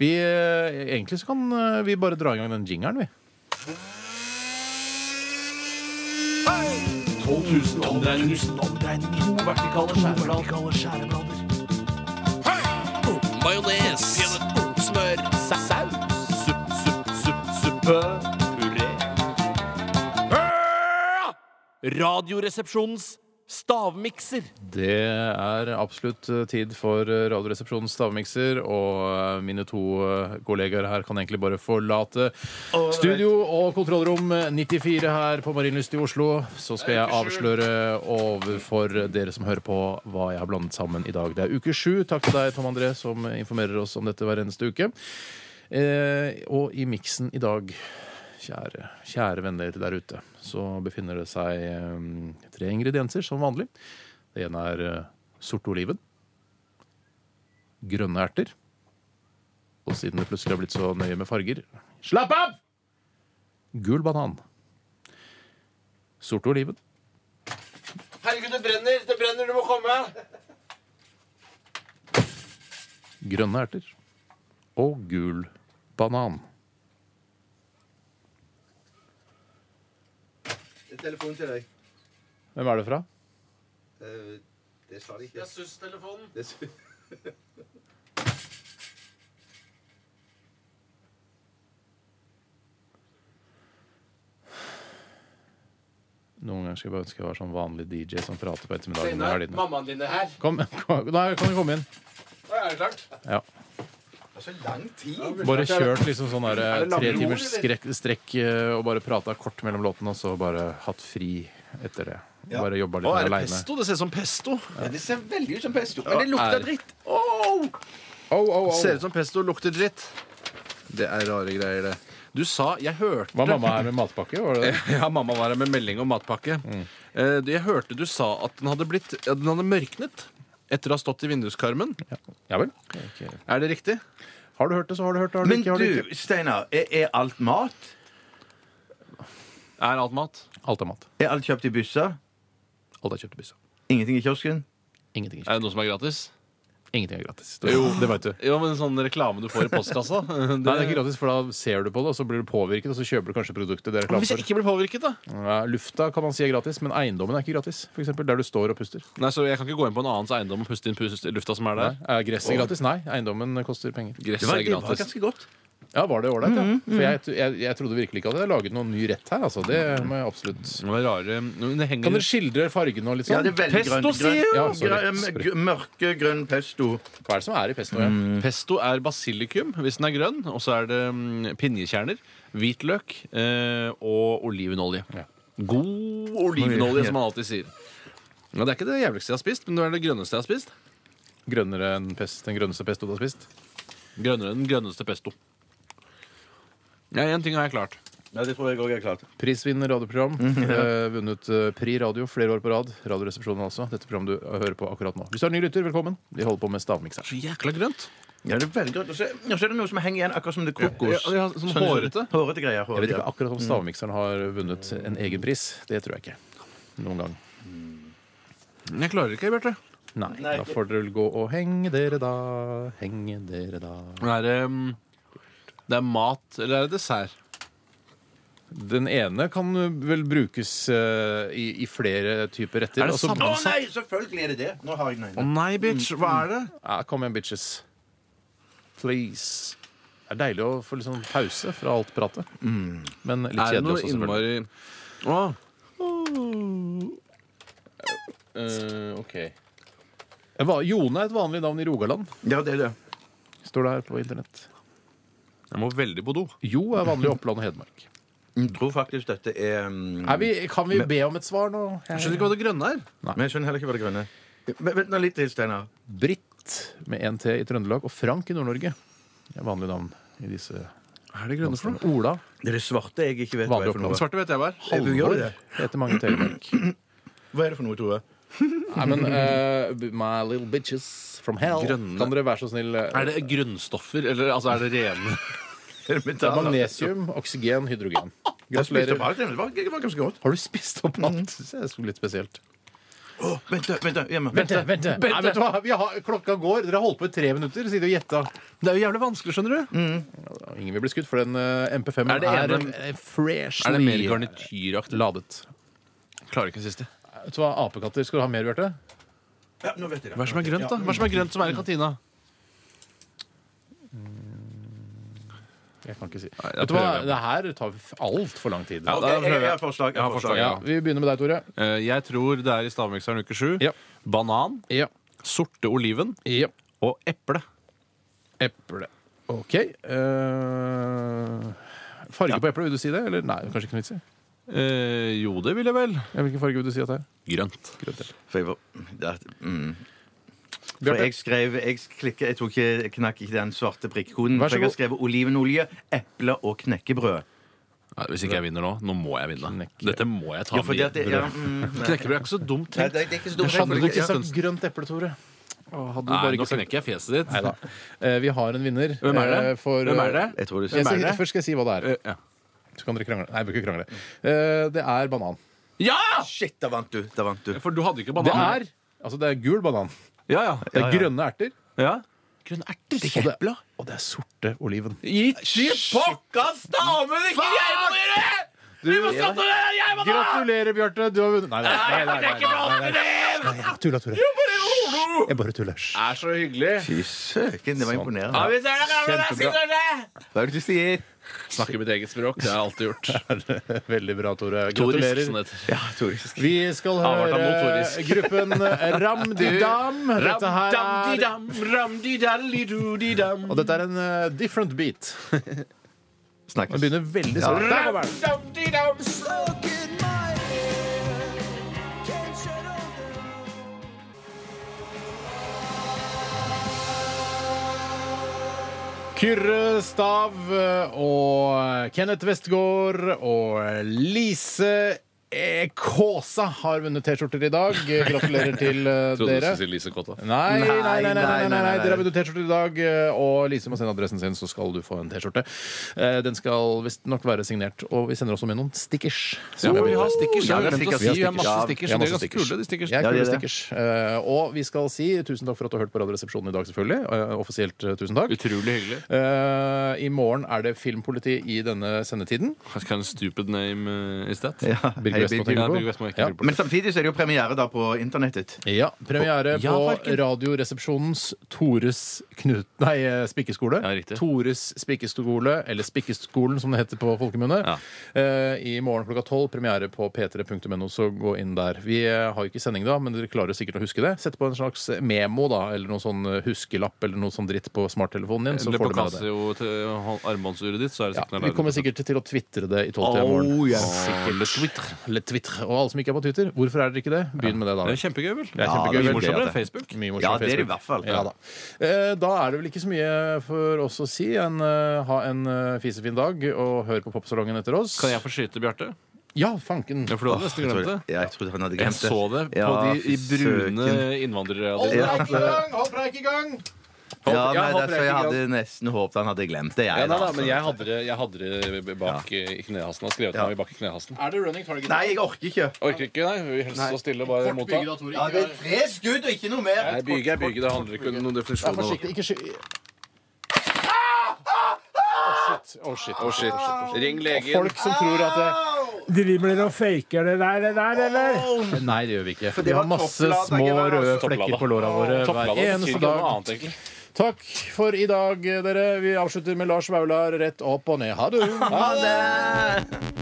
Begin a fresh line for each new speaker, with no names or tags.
Vi, eh, egentlig så kan eh, vi bare dra i gang den jingeren, vi.
12 000 omdreininger. To vertikale skjæreblader. Majones. Smør. Saus. Supp, supp, supp, suppe. Puré. Radioresepsjonens stavmikser.
Det er absolutt eh, tid for eh, Radioresepsjonens stavmikser, og eh, mine to eh, kollegaer her kan egentlig bare forlate studio og kontrollrom 94 her på Marienlyst i Oslo. Så skal jeg avsløre overfor dere som hører på, hva jeg har blandet sammen i dag. Det er uke sju. Takk til deg, Tom André, som informerer oss om dette hver eneste uke. Eh, og i miksen i dag Kjære, kjære venner der ute, så befinner det seg eh, tre ingredienser som vanlig. Det ene er eh, sortoliven, grønne erter, og siden det plutselig har blitt så nøye med farger Slapp av! Gul banan. Sortoliven.
Herregud, det brenner! Det brenner, du må komme!
grønne erter og gul banan.
Telefon til deg.
Hvem er det fra?
Eh, Det sa de ikke.
SUS-telefonen.
Det s-
Noen ganger skal jeg bare ønske jeg var sånn vanlig DJ som prater på ettermiddagen. og helgene.
mammaen din er her.
Kom, kom, nei, kan du komme inn?
Er det klart?
Ja.
Det er så lang tid.
Bare kjørt liksom sånn der, eh,
Er det
tre
lange
timers
ord,
skrekk, strekk eh, og bare prata kort mellom låtene, og så bare hatt fri etter det. Bare jobba litt
Å,
mer
er det
aleine.
pesto? Det ser ut som pesto.
Ja, det ser veldig ut som pesto. Men det
er-
lukter dritt. Åh!
Oh, oh,
Ser ut
oh.
som pesto, lukter dritt.
Det er rare greier, det.
Du sa Jeg hørte
Var mamma her med matpakke? Var det det?
Ja, mamma var her med melding om matpakke. Eh, det- Jeg hørte du sa at den hadde, blitt, at den hadde mørknet etter å ha stått i vinduskarmen.
Ja vel.
Er det riktig?
Har du hørt det, så har du hørt det. Har du
Men
ikke, har du ikke.
du, Steinar, er, er alt mat?
Er alt mat?
Alt er mat.
Er alt kjøpt i busser?
Alt er kjøpt i byssa.
Ingenting i kiosken?
Ingenting, er
Er det noe som er gratis?
kjøpt. Ingenting er gratis. Det, det veit du.
Jo, men sånn reklame du får i postkassa. det-
Nei, det er ikke gratis, for da ser du på det, og så blir du påvirket, og så kjøper du kanskje produktet det er
Men
reklame
Hvis jeg
for.
ikke blir påvirket, da?
Ja, lufta kan man si er gratis, men eiendommen er ikke gratis. For eksempel, der du står og puster.
Nei, så Jeg kan ikke gå inn på en annens eiendom og puste inn pust i lufta som er der?
Nei, Er gresset gratis? Nei, eiendommen koster penger.
Gresset
Det var,
er
det var
gratis.
ganske godt.
Ja, var det ålreit, ja. For jeg, jeg, jeg trodde virkelig ikke at jeg hadde laget noen ny rett her, altså. Det må jeg absolutt
Det var rare men det henger
Kan dere skildre fargene og litt
Ja,
sånn?
det er veldig
Pesto,
grønn-
sier jeg!
grønn-
Ja, sorry,
grønn-
sorry.
gr- Mørke, grønn pesto.
Hva er det Mm. som er i pesto? Ja?
Pesto er basilikum hvis den er grønn, og så er det mm, pinjekjerner, hvitløk eh, og olivenolje.
Ja.
God olivenolje, som man alltid sier. Ja, det er ikke det jævligste jeg har spist, men det er det grønneste jeg har spist.
Grønnere enn pest, den grønneste pesto du har spist?
Grønnere enn den grønneste pesto. Ja, én ting har jeg klart.
Ja, det tror jeg òg er klart.
Prisvinnende radioprogram. eh, vunnet eh, Pri Radio flere år på rad. Radioresepsjonen altså. Dette programmet du hører på akkurat nå. Hvis du er ny lytter, velkommen. Vi holder på med stavmikseren.
Så jækla grønt.
Ja, det er veldig godt. Og så og så er det noe som henger igjen, akkurat som det er kokos.
Ja, ja, ja, som
Sånn-
hårete.
Hårete greier.
Jeg vet
Hårete,
ikke
ja.
akkurat om stavmikseren har vunnet en egen pris. Det tror jeg ikke. Noen gang.
Jeg klarer ikke, Bjarte.
Nei. Da får dere vel gå og henge dere, da. Henge dere, da.
Det er, em, det er mat eller er det dessert?
Den ene kan vel brukes eh, i, i flere typer retter.
Er det
Altså-
samme?
Å nei, selvfølgelig er det det. Nå har jeg den
Å
ene.
nei, bitch! Hva er det?
Mm, Ja, kom igjen, bitches. Please. Det er deilig å få litt sånn pause fra alt pratet. Men litt
Mm. Er det
kjedelig
noe
også, selvfølgelig.
innmari Å. Eh, OK.
Jeg var- Eh, Jone er et vanlig navn i Rogaland,
Ja, det er det.
står det her på internett.
Jeg må veldig på do.
Jo er vanlig i Oppland og Hedmark.
Jeg tror faktisk dette er um,
Mm.
Er vi, kan vi be om et svar nå?
Jeg skjønner ikke hva det grønne er.
Men jeg skjønner heller ikke hva det grønne er. Men Vent nå litt til, Steinar.
Britt med en T i Trøndelag og Frank i Nord-Norge. Det er vanlige navn i disse
Er det grønne for noe?
Ola.
Det er det svarte jeg ikke vet hva
Vanlig
er for
oppgave.
noe.
Den svarte vet jeg hva er.
Jeg vil
Halvor
gjøre det.
heter mange i Telemark.
Hva er det for noe, Tore?
Nei, men eh, My little bitches from hell.
Grønne.
Kan dere være så snill eh,
Er det grunnstoffer, eller altså, er det rene
Er det
det er
metall?
Magnesium, oksygen, hydrogen.
Jeg spiste
Gratulerer.
opp alt, det var, det var ganske godt.
Mm.
Har du spist opp alt? Det er litt spesielt.
Å, vent, da, vent, da, hjemme.
Vente, vente. Nei, vet du hva? Vi har, klokka går. Dere har holdt på i tre minutter, sier du og gjetta.
Det er jo jævlig vanskelig, skjønner du.
Ingen vil bli skutt, for den eh, MP5
Er
er,
det
er,
ene-
eh, freshly
Er det mer garnityraktig?
ladet.
Klarer ikke det siste.
Vet du hva, apekatter skal du ha mer, Bjarte?
Ja, nå vet jeg det.
Hva er det som er grønt, da? Hva er det som er grønt som er i kantina?
Mm. Jeg kan ikke si.
Nei, da
Vet du hva,
prøver jeg.
det her tar altfor lang tid.
Ja,
Ok,
da
jeg, jeg,
prøver
jeg
jeg.
har forslag. Jeg
Jeg
har
har
forslag.
forslag,
Ja, vi begynner med deg, Tore.
Eh, Jeg tror det er i stavmikseren uke sju.
Ja.
Banan,
Ja.
sorte oliven
ja.
og eple.
Eple. OK. eh, farge på eplet, vil du si det? Eller nei, kanskje ikke noe vits i.
Eh, jo, det vil jeg vel.
Ja, Hvilken farge vil du si at det er?
Grønt.
For jeg, var, det, er- mm. for
Bjarte?
jeg skrev Jeg klikket, jeg tok ikke, knakk ikke den svarte prikkekoden.
Vær så
For jeg har
god.
skrevet olivenolje, eple og knekkebrød.
Nei, hvis ikke jeg vinner nå. Nå må jeg vinne.
Knekke.
Dette må jeg ta
Ja, fordi at det, ja, mm, nei.
Knekkebrød er ikke så dumt tenkt.
Nei, det, er- det er ikke så
Jeg
dumt.
skjønner du
for det-
ikke
ja.
sagt grønt eple, Tore. Å, hadde du
Nei,
bare
nå
ikke sagt
knekker jeg fjeset ditt.
Neida. Eh, vi har en vinner.
Hvem er det?
eh, For,
Hvem er det?
Jeg tror det
Jeg
Hvem er
skal,
det?
Først skal jeg si hva det er.
Eh, ja.
Så kan dere krangle. Nei, vi bør ikke krangle. Eh, det er banan.
ja!
Shit, da vant du. Da vant du.
For du hadde ikke
Det
banan.
er, altså det er gul banan.
Ja, ja.
Det er
ja.
grønne erter.
ja. Grønne erter.
Og det, og det er sorte oliven.
Ikke pokkas damen! Ikke jeg må gjøre det! Du må skatte det! Jeg må da!
Gratulerer, Bjarte. Du har vunnet. Nei, nei, nei. nei, nei, nei, nei, nei. Jeg tulla, Tore. Jeg bare tuller.
Det er så hyggelig.
Fy søken, det var imponerende.
Kjempebra.
Sånn. Hva er det du sier?
Snakker mitt eget språk. Det har jeg alltid gjort.
Veldig bra, Tore.
Torisk,
Gratulerer.
sånn heter det.
Ja, Tore.
Vi skal
Avart av
høre
motorisk.
gruppen Ramdidam. Dette her er
Ram-dam-di-dam, ram-di-dalli-du-di-dam.
Og dette er en eh, different beat. Den
Snakkes.
begynner veldig sakte. Der kommer den.
Ram-dam-di-dam.
Kyrre Stav eh, og Kenneth Westgård og Lise E. Kaasa har vunnet T-skjorter i dag. Gratulerer til eh,
Trodde du
dere.
skulle si Lise Kotta.
Nei nei nei, nei, nei, nei,
nei, nei.
dere har vunnet T-skjorter i dag. eh, Og Lise må sende adressen sin, så skal du få en T-skjorte. Eh, Den skal visstnok være signert. Og vi sender også med noen stickers.
Ja,
som
men
vi
vi
har-
har stickers.
Ja,
Jeg har
vi har
glemt å
stickers.
si vi har
Ja,
masse
vi
stickers.
har
og De er
masse
ganske kule, de stickers.
Jeg er
Ja,
kule
det er det.
stickers. Eh, Og vi skal si tusen takk for at du har hørt på Radioresepsjonen i dag, selvfølgelig. Eh, Offisielt eh, tusen takk.
Utrolig hyggelig.
Eh, I morgen er det filmpoliti i denne sendetiden.
What kind of stupid name uh, is that?
Ja,
Birger
hei,
Westmo
Birger.
tenker
Ja,
på.
Birger Westmo er ikke
Ja.
kul på det.
Men samtidig så er det jo premiere da på internettet.
Ja, premiere
Ja,
på
Farken.
Radioresepsjonens Tores Knut... Nei, eh, Spikkeskole.
Ja, riktig.
Tores Spikkeskole, eller Spikkeskolen som det heter på folkemunne.
Ja.
Eh, I morgen klokka tolv, premiere på p3.no, så gå inn der. Vi eh, har jo ikke sending da, men dere klarer sikkert å huske det. Sett på en slags eh, memo, da, eller noen sånn eh, huskelapp eller noe sånn dritt på smarttelefonen din, så
Eller
får
på
du med deg det.
Casio til hånd- armbåndsuret ditt, så er det
Ja,
sikkert en
vi kommer
alarm.
sikkert til å tvitre det i tolvtida i morgen.
Oh, ja.
Sikkert. Le Twitter. Og alle som ikke er på Twitter, hvorfor er dere ikke det? Begynn med det, da.
Det er kjempegøy, vel?
Det er kjempegøy, vel?
det er
Mye morsommere
det.
enn Facebook.
Mye morsommere
Ja, det er det i
Facebook.
hvert fall.
Ja, da. Eh, da er det vel ikke så mye for oss å si enn eh, ha en eh, fisefin dag og hør på popsalongen etter oss.
Kan jeg få skyte Bjarte?
Ja, fanken.
Ja, for du hadde nesten
Jeg
glemt
trodde,
det.
ja, jeg trodde han hadde
Jeg
glemt det.
så det på
Ja,
de i
fy
brune
søken.
innvandrere...
i gang! Hold preik i gang!
Ja,
Ja,
nei,
håper
derfor
jeg
jeg
ikke
hadde nesten håpet han hadde glemt det.
Ja, nei,
Jeg, da,
nei, men
altså.
jeg hadde det, jeg hadde det bak eh, i knehasen. Har skrevet
Ja.
meg bak i knehasen.
Er det running target?
Nei, jeg orker ikke.
Orker ikke, nei. Vi vil helst stå stille og bare motta.
da, Tore.
Ja, det er tre skudd og ikke noe mer.
Nei, byge er byge. Det handler ikke om noen
Vær
definisjon.
forsiktig, ikke sky... Å, shit. Å, shit.
Ring
Folk som tror at det
Driver dere og faker det der, det der, eller?
Nei, det gjør vi ikke. Vi
det
har
var
masse
topplada,
små
ikke sant?
røde
Topplada.
flekker på låra våre hver eneste dag. Takk for i dag, dere. Vi avslutter med Lars Vaular rett opp og ned. Ha det!
Ha det!